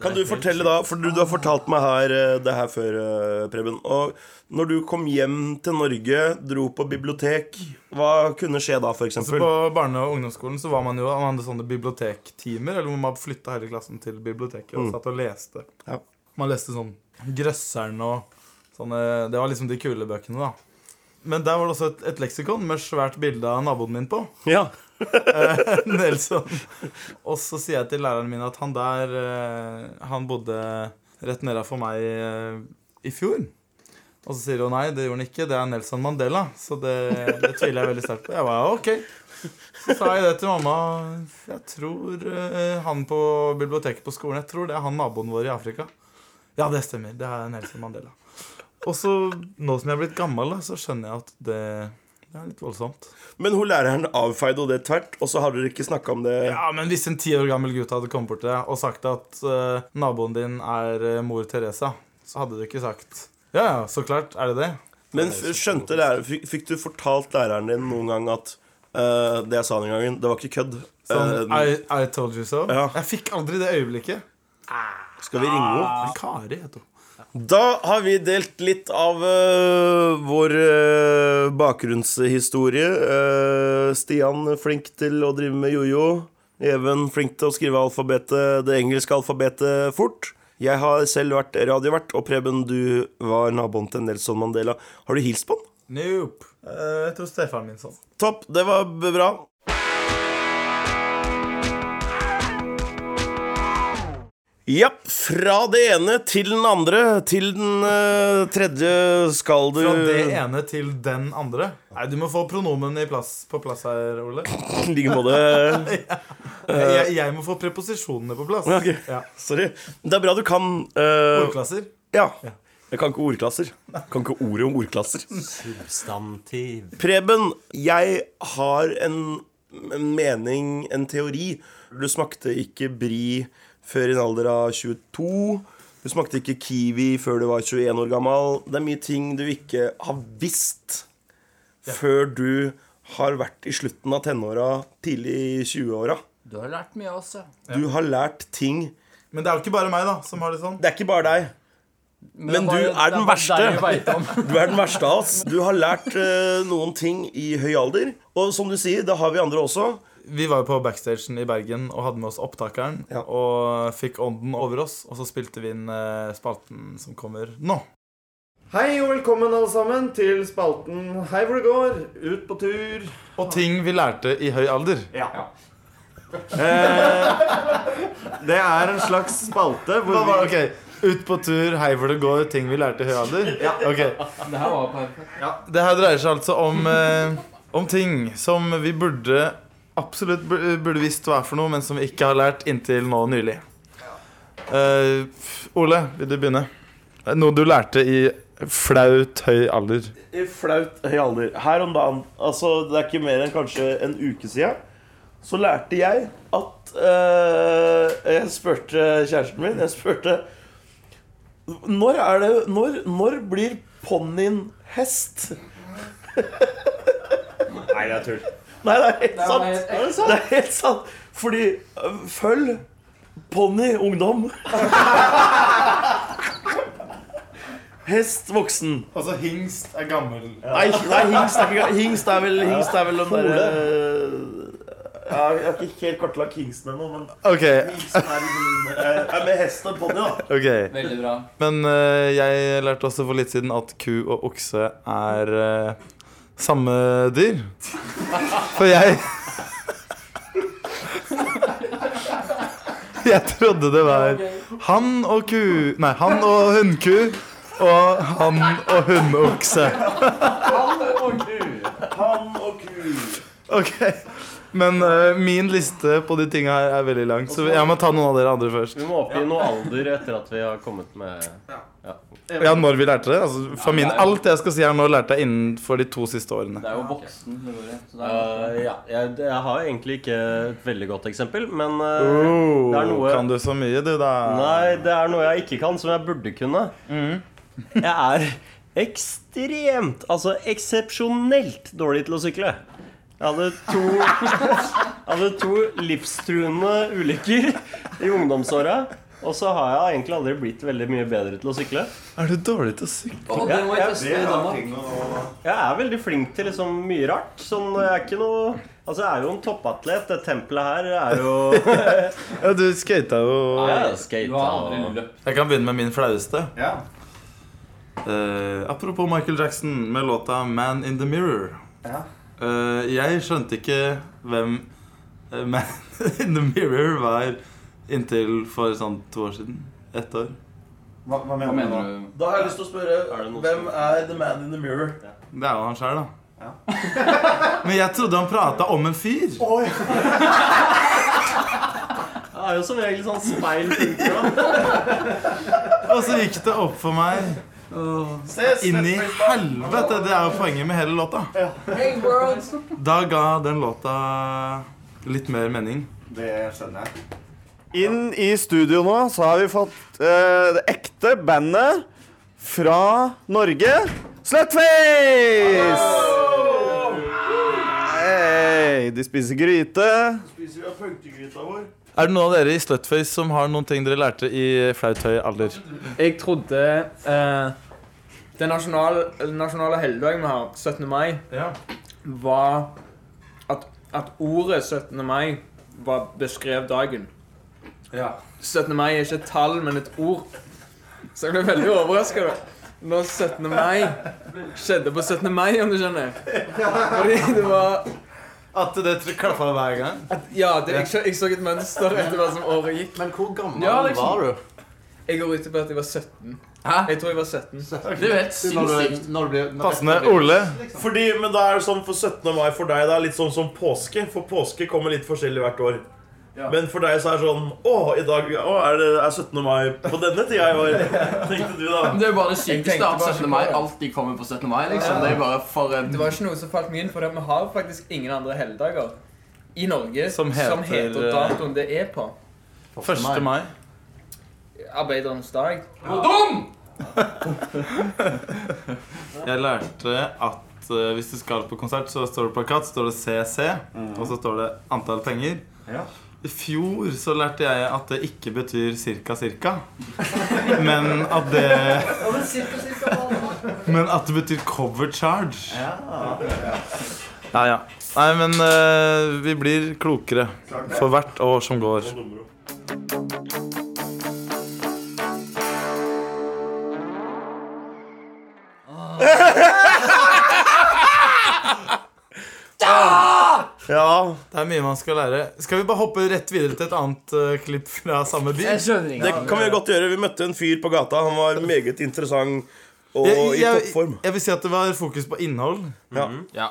Speaker 2: kan du fortelle da For du, du har fortalt meg her eh, det her før, eh, Preben. Og når du kom hjem til Norge, dro på bibliotek, hva kunne skje da, f.eks.?
Speaker 4: Så Altså, på barne- og ungdomsskolen så var man jo Man hadde sånne bibliotektimer, eller hvor man flytta hele klassen til biblioteket og satt og leste.
Speaker 2: Ja.
Speaker 4: Man leste sånn Grøsseren og sånne Det var liksom de kule bøkene, da. Men der var det også et, et leksikon med svært bilde av naboen min på.
Speaker 2: Ja.
Speaker 4: Nelson. Og så sier jeg til læreren min at han der eh, Han bodde rett nedafor meg eh, i fjor. Og så sier hun nei, det gjorde han ikke, det er Nelson Mandela. Så det, det tviler jeg veldig sterkt på. Jeg var ok. Så sa jeg det til mamma. Jeg tror eh, han på biblioteket på skolen Jeg tror det er han naboen vår i Afrika. Ja, det stemmer. Det er Nelson Mandela. Og så, nå som jeg er blitt gammel, da, så skjønner jeg at det, det er litt voldsomt.
Speaker 2: Men hun læreren avfeide jo det tvert, og så har dere ikke snakka om det
Speaker 4: Ja, men hvis en ti år gammel gutt hadde kommet bort til deg og sagt at eh, naboen din er eh, mor Teresa, så hadde du ikke sagt Ja, ja, så klart. Er det det?
Speaker 2: Men f- skjønte lærer, fikk, fikk du fortalt læreren din noen gang at eh, det jeg sa den gangen, det var ikke kødd?
Speaker 4: Sånn,
Speaker 2: Eh,
Speaker 4: I, I told you so.
Speaker 2: Ja.
Speaker 4: Jeg fikk aldri det øyeblikket.
Speaker 2: skal vi ringe henne?
Speaker 4: Men Kari het hun.
Speaker 2: Da har vi delt litt av eh, vår eh, bakgrunnshistorie. Eh, Stian flink til å drive med jojo. Even flink til å skrive alfabetet, det engelske alfabetet fort. Jeg har selv vært radiovert, og Preben, du var naboen til Nelson Mandela. Har du hilst på han?
Speaker 4: Nope. Eh, jeg tror stefaren min sånn.
Speaker 2: Topp, det var b- bra. Ja, fra det ene til den andre. Til den eh, tredje skal du
Speaker 4: Fra det ene til den andre. Nei, du må få pronomen i plass, på plass her, Ole.
Speaker 2: I like måte.
Speaker 4: Jeg, jeg må få preposisjonene på plass.
Speaker 2: Eh. Ok.
Speaker 4: Ja.
Speaker 2: Sorry. Det er bra du kan eh,
Speaker 4: Ordklasser.
Speaker 2: Ja. Jeg kan ikke ordklasser. Jeg kan ikke ordet om ordklasser.
Speaker 5: Substantiv.
Speaker 2: Preben, jeg har en, en mening, en teori. Du smakte ikke bri før i en alder av 22. Du smakte ikke kiwi før du var 21 år gammel. Det er mye ting du ikke har visst før du har vært i slutten av tenåra, tidlig i 20-åra.
Speaker 1: Du har lært mye av oss, ja.
Speaker 2: Du har lært ting
Speaker 4: Men det er jo ikke bare meg da, som har det sånn.
Speaker 2: Det er ikke bare deg. Men
Speaker 1: det
Speaker 2: du
Speaker 1: bare-
Speaker 2: er den
Speaker 1: det
Speaker 2: verste.
Speaker 1: bare deg vi vet om.
Speaker 2: Du er den verste av oss. Du har lært eh, noen ting i høy alder. Og som du sier, det har vi andre også.
Speaker 4: Vi var jo på backstagen i Bergen og hadde med oss opptakeren.
Speaker 2: Ja.
Speaker 4: Og fikk ånden over oss, og så spilte vi inn eh, spalten som kommer nå.
Speaker 7: Hei og velkommen alle sammen til spalten Hei hvor det går, ut på tur.
Speaker 4: Og ting vi lærte i høy alder.
Speaker 7: Ja. det er en slags spalte hvor
Speaker 4: Hva var det? Ok, Ut på tur, hei hvor det går, ting vi lærte i høy alder. Ok,
Speaker 1: Det her var perfekt.
Speaker 4: Det her dreier seg altså om, eh, om ting som vi burde absolutt bur- burde visst hva er for noe, men som vi ikke har lært inntil nå nylig. Eh, Ole, vil du begynne? Noe du lærte i flaut høy alder.
Speaker 2: I flaut høy alder. Her om dagen, altså det er ikke mer enn kanskje en uke siden, så lærte jeg at eh, Jeg spurte kjæresten min, jeg spurte Når er det Når, når blir ponnien hest?
Speaker 8: Nei, det er tull.
Speaker 2: Nei, det er helt
Speaker 1: var helt
Speaker 2: sant.
Speaker 1: ekte.
Speaker 2: Det er helt sant. Fordi øh, følg ponni ungdom. Hest voksen.
Speaker 4: Altså hingst er gammel.
Speaker 2: Nei, nei hingst, er ikke, hingst er vel Hingst er vel den derre eh, ja, Jeg har ikke helt kartlagt hingsten ennå, men
Speaker 4: Ok,
Speaker 2: hingsten er liksom eh, er med hest og ponni, da.
Speaker 4: ok
Speaker 1: Veldig bra.
Speaker 4: Men eh, jeg lærte også for litt siden at ku og okse er eh, samme dyr. For jeg Jeg trodde det var han og ku Nei, han og hunnku og han og hunnokse.
Speaker 2: Han og
Speaker 4: Ok Men eh, min liste på de tinga her er veldig lang, så jeg må ta noen av dere andre først.
Speaker 5: Vi må oppgi noe alder etter at vi har kommet med ja.
Speaker 4: Ja, når vi lærte det? Altså, familien, alt jeg skal si her nå, lærte jeg innenfor de to siste årene.
Speaker 9: er jo voksen. det går i, så det er-
Speaker 5: Eh, ja. Jeg, jeg har egentlig ikke et veldig godt eksempel, men eh, det er
Speaker 4: Oh,
Speaker 5: noe
Speaker 4: kan du så mye, du, da?
Speaker 5: Nei, det er noe jeg ikke kan, som jeg burde kunne.
Speaker 4: Mm.
Speaker 5: jeg er ekstremt, altså eksepsjonelt dårlig til å sykle. Jeg hadde to, jeg hadde to livstruende ulykker i ungdomsåra. Og så har jeg egentlig aldri blitt veldig mye bedre til å sykle.
Speaker 4: Er du dårlig til å sykle?
Speaker 9: Å, det må jeg teste i Danmark.
Speaker 5: Jeg er veldig flink til liksom mye rart. Sånn, jeg er ikke noe Altså, jeg er jo en toppatlet. Det tempelet her er jo
Speaker 4: Ja, du skata jo
Speaker 5: Jeg er
Speaker 9: Du har aldri
Speaker 5: skata.
Speaker 9: løpt.
Speaker 4: Jeg kan begynne med min flaueste.
Speaker 10: Ja.
Speaker 4: Eh, apropos Michael Jackson med låta 'Man in the Mirror'.
Speaker 10: Ja.
Speaker 4: Eh, jeg skjønte ikke hvem eh, Man in the Mirror var inntil for sånn to år siden. Ett år.
Speaker 10: Hva, hva
Speaker 9: Hva
Speaker 10: mener du?
Speaker 9: mener
Speaker 10: nå?
Speaker 9: du?
Speaker 2: Da har jeg lyst til å
Speaker 5: Er
Speaker 2: spørre
Speaker 5: det noe
Speaker 2: Hvem er The Man in the Mirror?
Speaker 4: Det er jo han sjøl, da. Men jeg trodde han prata om en fyr.
Speaker 5: Det er jo som regel sånn speil funker, da.
Speaker 4: Og så gikk det opp for meg Inn i helvete! Det er jo poenget med hele låta. Da ga den låta litt mer mening.
Speaker 10: Det skjønner jeg.
Speaker 6: Inn i studio nå så har vi fått eh, det ekte bandet fra Norge. Slutface! Hei, de spiser gryte.
Speaker 4: Er det noen av dere i Slutface som har noen ting dere lærte i flaut høy alder?
Speaker 11: Jeg trodde eh, Den nasjonale, nasjonale helligdagen vi har, 17. mai,
Speaker 4: Ja.
Speaker 11: var at, at ordet 17. mai var beskrev dagen.
Speaker 4: Ja.
Speaker 11: 17. mai er ikke et tall, men et ord. Så jeg ble veldig overraska når 17. mai skjedde på 17. mai, om du skjønner. Fordi det var
Speaker 4: At det klaffa hver gang?
Speaker 11: Ja, det, jeg, så- jeg så et mønster etter hva som året gikk.
Speaker 2: Men hvor gammel
Speaker 11: Ja, liksom.
Speaker 2: var du?
Speaker 11: Jeg går ut på at jeg var 17.
Speaker 9: Hæ?
Speaker 11: Jeg tror jeg var 17.
Speaker 9: Det er jo helt sinnssykt.
Speaker 4: Passende. Ole.
Speaker 2: Fordi, men da er det sånn for 17. mai for deg Det er litt sånn som påske For påske kommer litt forskjellig hvert år Men for deg så er det sånn Åh, i dag å, er, det, er 17. mai på denne tida i år Tenkte du da
Speaker 9: Det er jo bare det sykeste
Speaker 11: tenkte
Speaker 9: at
Speaker 11: bare
Speaker 9: 17.
Speaker 11: på
Speaker 9: mai
Speaker 11: det.
Speaker 9: alltid kommer på 17. mai, liksom. Det er bare for en
Speaker 11: Det var ikke noe som falt meg inn, for vi har faktisk ingen andre helligdager i Norge
Speaker 4: Som heter-
Speaker 11: som heter datoen det er på.
Speaker 4: 1. mai.
Speaker 11: Arbeiderens dag.
Speaker 9: Hvor dum!
Speaker 4: Jeg lærte at eh, hvis du skal på konsert, så står det plakat, så står det CC, og så står det antall penger.
Speaker 10: Ja.
Speaker 4: I fjor så lærte jeg at det ikke betyr cirka, cirka, men at det Men at det betyr cover charge. Ja, ja. Nei, men eh, vi blir klokere for hvert år som går.
Speaker 2: Ja,
Speaker 4: Det er mye man skal lære. Skal vi bare hoppe rett videre til et annet eh, klipp fra samme by?
Speaker 9: Jeg skjønner
Speaker 2: det
Speaker 9: ikke.
Speaker 2: kan vi godt gjøre Vi møtte en fyr på gata Han var meget interessant og
Speaker 4: Jeg,
Speaker 2: i
Speaker 4: jeg,
Speaker 2: toppform
Speaker 4: jeg vil si at det var fokus på innhold.
Speaker 2: Ja.
Speaker 9: Ja.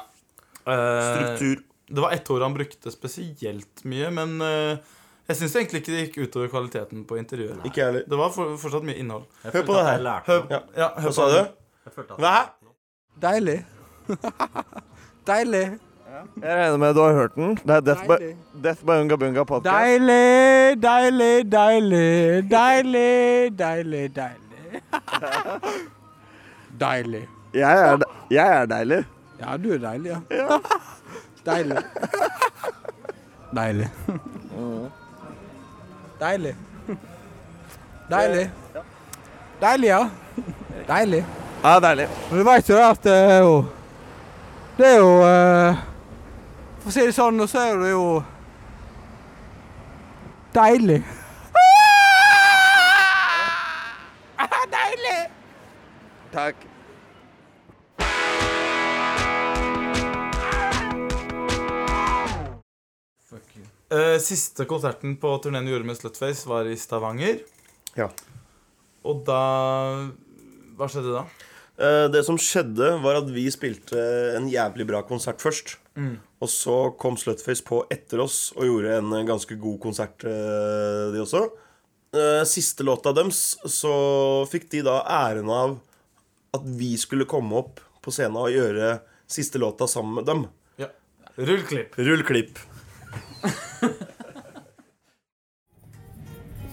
Speaker 4: Eh,
Speaker 2: Struktur
Speaker 4: Det var ett ord han brukte spesielt mye, men eh, jeg syns egentlig ikke det gikk utover kvaliteten på intervjuet.
Speaker 2: Ikke jeg heller
Speaker 4: Det var for, fortsatt mye innhold.
Speaker 2: Hør på det her
Speaker 4: Hør, ja. hør
Speaker 2: Hva sa du? Hva?
Speaker 1: Deilig. Deilig.
Speaker 6: Jeg regner med du har hørt den. Det er Death, by,
Speaker 1: Deilig.
Speaker 6: Death by Unga Bunga podcast.
Speaker 1: Deilig, deilig, deilig. Deilig, deilig, deilig. Deilig.
Speaker 6: Jeg er, de- jeg er deilig.
Speaker 1: Ja, du er deilig, ja. Deilig. Deilig. Deilig. Deilig. Deilig, ja. Deilig.
Speaker 6: Ja, deilig.
Speaker 1: Men du veit jo det at det er jo Det er jo eh, For å si det sånn, nå så er det jo Deilig. Deilig!
Speaker 6: Takk.
Speaker 4: Eh, siste konserten på turneen vi gjorde med Slutface, var i Stavanger.
Speaker 2: Ja.
Speaker 4: Og da Hva skjedde da?
Speaker 2: Eh, Eh, Det som skjedde, var at vi spilte en jævlig bra konsert først.
Speaker 4: Mm.
Speaker 2: Og så kom Slutface på etter oss og gjorde en eh, ganske god konsert, eh, de også. Eh, Siste låta deres, så fikk de da æren av at vi skulle komme opp på scenen og gjøre siste låta sammen med dem.
Speaker 4: Ja. Rullklipp.
Speaker 2: Rullklipp.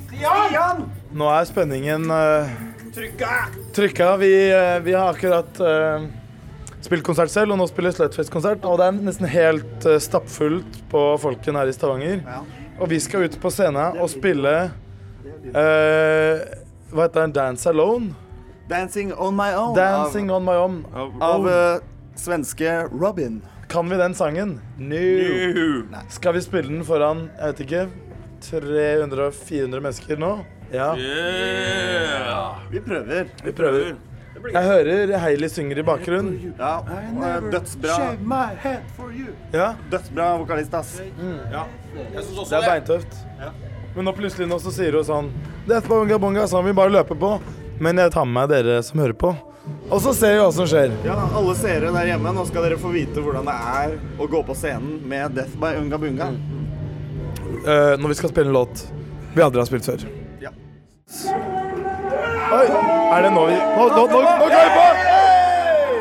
Speaker 7: Stian!
Speaker 12: Nå er spenningen eh,
Speaker 7: Trykka!
Speaker 12: trykka. Vi, eh, vi har akkurat eh, spilt konsert selv, og nå spiller Slutface-konsert. Og det er nesten helt eh, stappfullt på folken her i Stavanger. Og vi skal ut på scenen og spille eh, Hva heter den? Dance Alone?
Speaker 13: Dancing On My Own.
Speaker 12: Dancing On My Own.
Speaker 13: av, eh,
Speaker 12: svenske Robin. Kan vi den sangen? No. Skal vi spille den foran, jeg vet ikke, 300-400 mennesker nå? Ja.
Speaker 13: Vi prøver.
Speaker 12: Vi prøver. Jeg hører Hailey synger i bakgrunnen.
Speaker 13: Ja, og, eh, dødsbra.
Speaker 12: shave
Speaker 13: my head for you.
Speaker 12: Ja.
Speaker 13: Dødsbra vokalist, ass.
Speaker 12: Ja. Det er beintøft. Men nå plutselig nå så sier hun sånn Dette var Unga Bonga, sånn vi bare løper på. Men jeg tar med meg dere som hører på. Og så ser vi hva som skjer.
Speaker 13: Ja, alle seere der hjemme, nå skal dere få vite hvordan det er å gå på scenen med Death by Unga Bunga.
Speaker 12: Eh, når vi skal spille en låt vi aldri har spilt før.
Speaker 13: Ja.
Speaker 12: Oi, er det nå vi Nå, nå, nå, nå går vi på!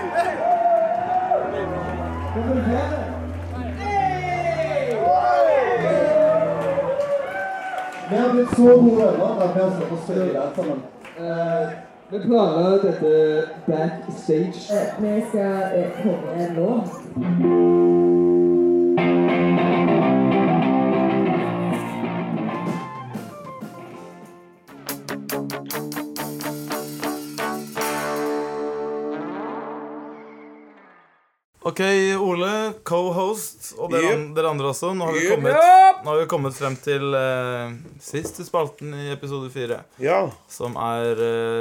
Speaker 14: Vi har blitt så gode venner at vi har stått og spilt sammen. Vi klarer dette backstage. Vi skal komme nå.
Speaker 4: OK, Ole, co-host, og dere,
Speaker 12: Yep.
Speaker 4: an- dere andre også. Nå har, vi
Speaker 12: Yep.
Speaker 4: kommet, nå har vi kommet frem til eh, siste spalten i episode fire,
Speaker 2: Ja.
Speaker 4: som er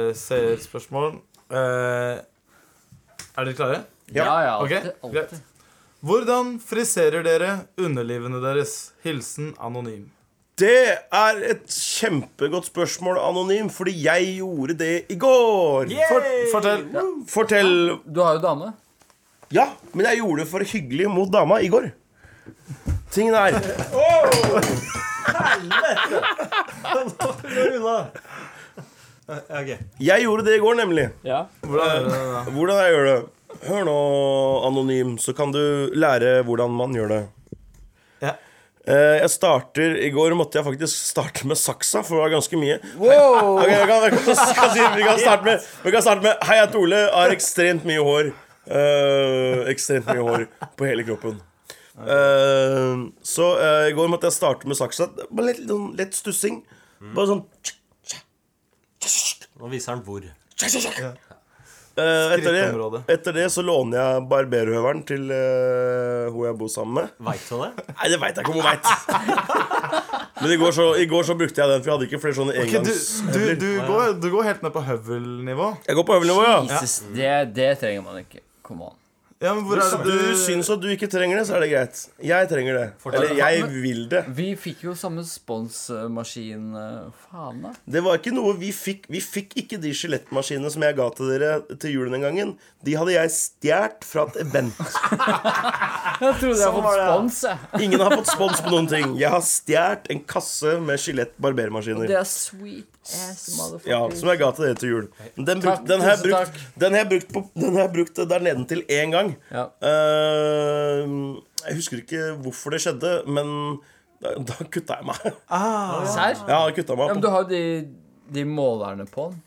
Speaker 4: eh, seerspørsmål. Eh, er dere klare?
Speaker 1: Ja. Ja, ja,
Speaker 4: Ok,
Speaker 1: alltid, alltid.
Speaker 4: greit. Hvordan friserer dere underlivene deres? Hilsen anonym.
Speaker 2: Det er et kjempegodt spørsmål, Anonym, fordi jeg gjorde det i går. For,
Speaker 4: fortell.
Speaker 2: fortell.
Speaker 1: Du har jo dame.
Speaker 2: Ja, men jeg gjorde det for hyggelig mot dama i går. Tingen er Jeg gjorde det i går, nemlig.
Speaker 4: Hvordan,
Speaker 2: Eh, hvordan jeg gjør det? Hør nå, Anonym, så kan du lære hvordan man gjør det. Eh, Jeg starter, I går måtte jeg faktisk starte med saksa, for det var ganske mye.
Speaker 12: Wow!
Speaker 2: Ok, jeg kan, jeg kan, jeg kan si, vi, kan starte med, vi kan starte med Hei, jeg heter Ole. Har ekstremt mye hår. Eh, ekstremt mye hår på hele kroppen. Eh, så eh, i går måtte jeg starte med saksa. Det var Litt, sånn lett stussing. Bare sånn
Speaker 5: Nå viser han hvor.
Speaker 2: Eh, etter, det,
Speaker 5: Skrittområdet.
Speaker 2: etter det så låner jeg barberhøveren til eh, hun jeg bor sammen med.
Speaker 5: Veit hun det?
Speaker 2: Nei, det veit jeg ikke om hun veit. Men i går, så, i går så brukte jeg den, for jeg hadde ikke flere sånne
Speaker 4: Ok, du,
Speaker 2: engangs...
Speaker 4: du, du, går, du går helt ned på høvelnivå.
Speaker 2: Jeg går på øvelse nå, ja.
Speaker 1: Jesus, det, det trenger man ikke. Come on.
Speaker 4: Ja, men hvor
Speaker 2: Hvis
Speaker 4: er det
Speaker 2: du
Speaker 4: du
Speaker 2: syns at du ikke trenger det, så er det greit. Jeg trenger det. Eller jeg vil det.
Speaker 1: Vi fikk jo samme sponsmaskin. eh, Faen, da.
Speaker 2: Det var ikke noe Vi fikk, vi fikk ikke de skjelettmaskinene som jeg ga til dere til julen den gangen. De hadde jeg stjålet fra et event.
Speaker 1: Jeg trodde jeg hadde fått spons. jeg.
Speaker 2: Ingen har fått spons på noen ting. Jeg har stjålet en kasse med skjelett-barbermaskiner.
Speaker 1: Det er sweet ass, motherfucker.
Speaker 2: Ja, som jeg ga til dere til jul. Men den, bruk,
Speaker 1: Takk,
Speaker 2: den, har jeg
Speaker 1: tusen
Speaker 2: brukt, den har jeg brukt, på, den har jeg brukt der nedentil én gang. Eh, jeg husker ikke hvorfor det skjedde, men da, da kutta jeg meg.
Speaker 1: Ah. Serr?
Speaker 2: Ja, jeg kutta meg
Speaker 1: Ja, men du har jo de, de målerne på den.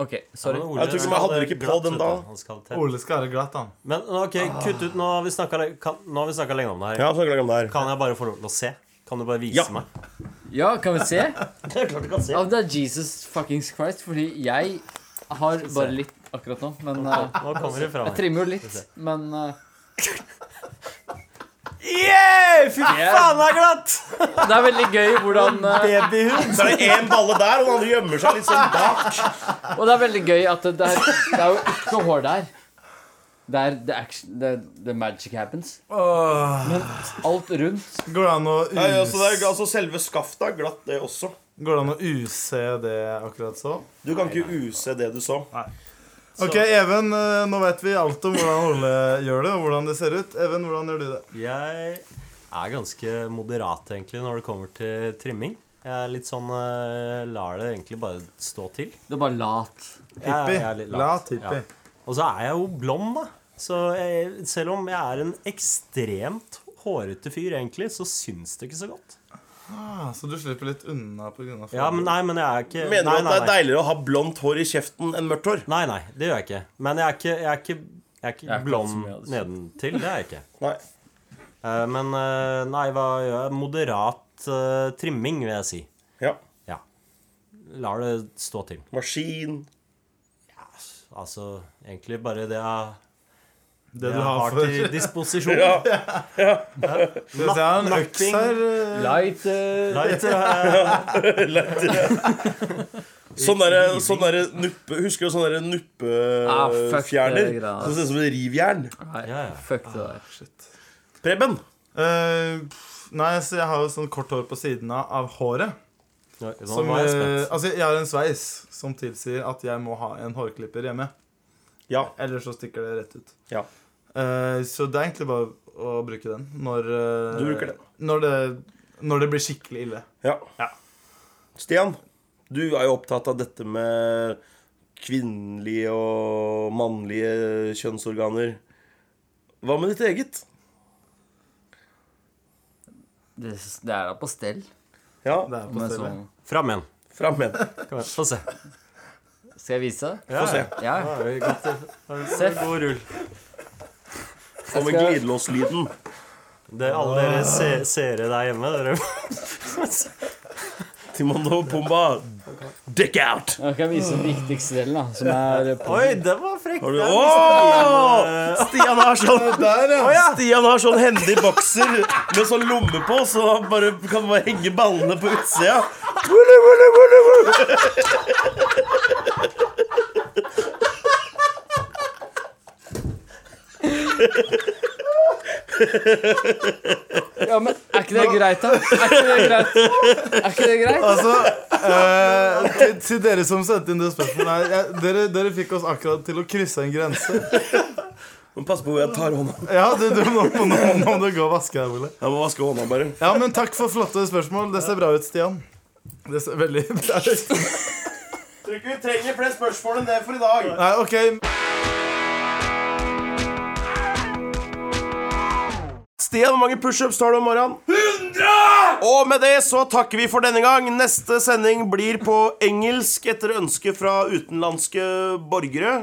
Speaker 1: OK, sorry.
Speaker 5: Ja, men Ole skal ha det glatt, vet du. Han skal ha det tett.
Speaker 4: Ole skal være glatt, han.
Speaker 5: Men ok, kutt ut. Nå har vi snakka, kan, nå har vi snakket lenge om det her.
Speaker 2: Ja, vi snakket lenge om det her.
Speaker 5: Kan jeg bare få lov til å se? Kan du bare vise meg?
Speaker 1: Ja, kan vi se?
Speaker 5: Det er klart du kan se.
Speaker 1: Ja, det er Jesus fuckings Christ, fordi jeg har bare litt akkurat nå, men
Speaker 5: Nå-
Speaker 1: eh,
Speaker 5: nå kommer det fra meg.
Speaker 1: Jeg trimmer jo
Speaker 5: Skal
Speaker 1: litt,
Speaker 5: vi se.
Speaker 1: men eh,
Speaker 5: Yeah! Fy faen, det er glatt!
Speaker 1: Det er veldig gøy hvordan eh,
Speaker 5: Babyhud.
Speaker 2: Så er det én balle der, og den andre gjemmer seg litt sånn bak.
Speaker 1: Og det er veldig gøy at det, det, er, det er jo ikke hår der. Det er the, action, the, the magic happens. Men alt rundt
Speaker 4: Går det an å
Speaker 2: Nei, altså, det er, altså Selve skaftet er glatt, det også.
Speaker 4: Går det an å use det jeg akkurat så?
Speaker 2: Du kan ikke use det du så.
Speaker 4: Ok, Even, eh, nå vet vi alt om hvordan Ole gjør det, og hvordan det ser ut. Even, hvordan gjør du det?
Speaker 5: Jeg er ganske moderat egentlig når det kommer til trimming. Jeg er litt sånn eh, Lar det egentlig bare stå til.
Speaker 1: Du er bare lat?
Speaker 5: Jeg,
Speaker 1: Hippie.
Speaker 5: er litt
Speaker 1: Lat
Speaker 5: lat.
Speaker 1: hippie.
Speaker 5: Og så er jeg jo blond, da. Så jeg, selv om jeg er en ekstremt hårete fyr, egentlig, så syns det ikke så godt.
Speaker 4: Ah, så du slipper litt unna pga.
Speaker 5: Ja, men nei, men jeg er ikke
Speaker 4: Mener du at
Speaker 5: nei, nei,
Speaker 4: det er
Speaker 5: nei.
Speaker 2: Deiligere å ha blondt hår i kjeften enn mørkt hår.
Speaker 5: Nei, nei, det gjør jeg ikke. Men jeg er ikke, jeg er ikke, jeg er ikke
Speaker 2: Jeg er ikke så mye av
Speaker 5: blond
Speaker 2: det.
Speaker 5: nedentil. Det er jeg ikke. Eh, men eh, nei, hva gjør jeg? Moderat eh, trimming, vil jeg si.
Speaker 2: Ja.
Speaker 5: Lar det stå til.
Speaker 2: Maskin.
Speaker 5: Ja, altså egentlig bare det jeg
Speaker 4: Det du har for-
Speaker 5: til disposisjon.
Speaker 4: Ja, ja. Skal vi se,
Speaker 5: Napp-
Speaker 4: en øks
Speaker 5: napping.
Speaker 4: her, eh. Lighter.
Speaker 5: Lighter,
Speaker 2: Ja,
Speaker 5: eh.
Speaker 2: Lighter, ja. Sånn derre sånn derre nuppe Husker du sånn derre
Speaker 1: Ah, fuck
Speaker 2: nuppefjerner?
Speaker 1: det greia.
Speaker 2: som ser ut som en rivjern?
Speaker 1: Fuck det der.
Speaker 2: Preben?
Speaker 4: eh, nei, så jeg har jo sånn kort hår på siden av, av håret.
Speaker 5: Ja, nå
Speaker 4: Som,
Speaker 5: var jeg
Speaker 4: eh,
Speaker 5: spent.
Speaker 4: altså, jeg har en sveis som tilsier at jeg må ha en hårklipper hjemme.
Speaker 2: Ja
Speaker 4: Eller så stikker det rett ut.
Speaker 2: Ja
Speaker 4: Eh, så det er egentlig bare å bruke den når eh,
Speaker 2: Du bruker den.
Speaker 4: Når det, når det blir skikkelig ille.
Speaker 2: Ja. Stian, du er jo opptatt av dette med kvinnelige og mannlige kjønnsorganer. Hva med ditt eget?
Speaker 1: Det, det er da på stell. sånn-
Speaker 2: Ja,
Speaker 4: det
Speaker 1: på stell, ja.
Speaker 5: Fram igjen.
Speaker 2: Fram igjen.
Speaker 5: Kom igjen, Få se.
Speaker 1: Skal jeg vise?
Speaker 5: Ja,
Speaker 1: Få se. Ja.
Speaker 5: Da har vi gått- da har vi-
Speaker 1: Seff.
Speaker 5: God rull.
Speaker 1: Og med Jeg skal- glidelåslyden.
Speaker 5: Det er alle
Speaker 4: Ah.
Speaker 5: dere se seere der hjemme, dere
Speaker 2: Timon og Pumba, dick out!
Speaker 1: Jeg kan vise den viktigste delen, da. Som er på-
Speaker 5: Oi, det var frekt.
Speaker 2: Har du- Åh! Stian har sånn Å ja. Stian har sånn hendig bokser med sånn lomme på, så han bare kan bare henge ballene på utsida. Wulu, wulu, wulu, wulu.
Speaker 1: Ja, men er ikke det greit, da? Er ikke det greit? Er ikke det greit?
Speaker 4: Altså, eh, til, til dere som sendte inn det spørsmålet her, jeg, dere, dere fikk oss akkurat til å krysse en grense.
Speaker 2: Men pass på hvor jeg tar hånda.
Speaker 4: Ja, du, du, nå, må- nå, nå må du gå og vaske her, Ole.
Speaker 2: Jeg må vaske hånda, bare.
Speaker 4: Ja, men takk for flotte spørsmål. Det ser bra ut, Stian. Det ser veldig bra ut.
Speaker 2: Tror ikke vi trenger flere spørsmål enn det for i dag.
Speaker 4: Nei, ok.
Speaker 2: Stian, hvor mange pushups tar du om morgenen? 100! Og med det så takker vi for denne gang. Neste sending blir på engelsk etter ønske fra utenlandske borgere.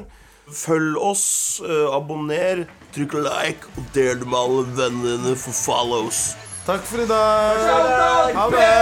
Speaker 2: Følg oss, eh, abonner, trykk like og del det med alle vennene dine for follows.
Speaker 4: Takk for i dag. Ha det.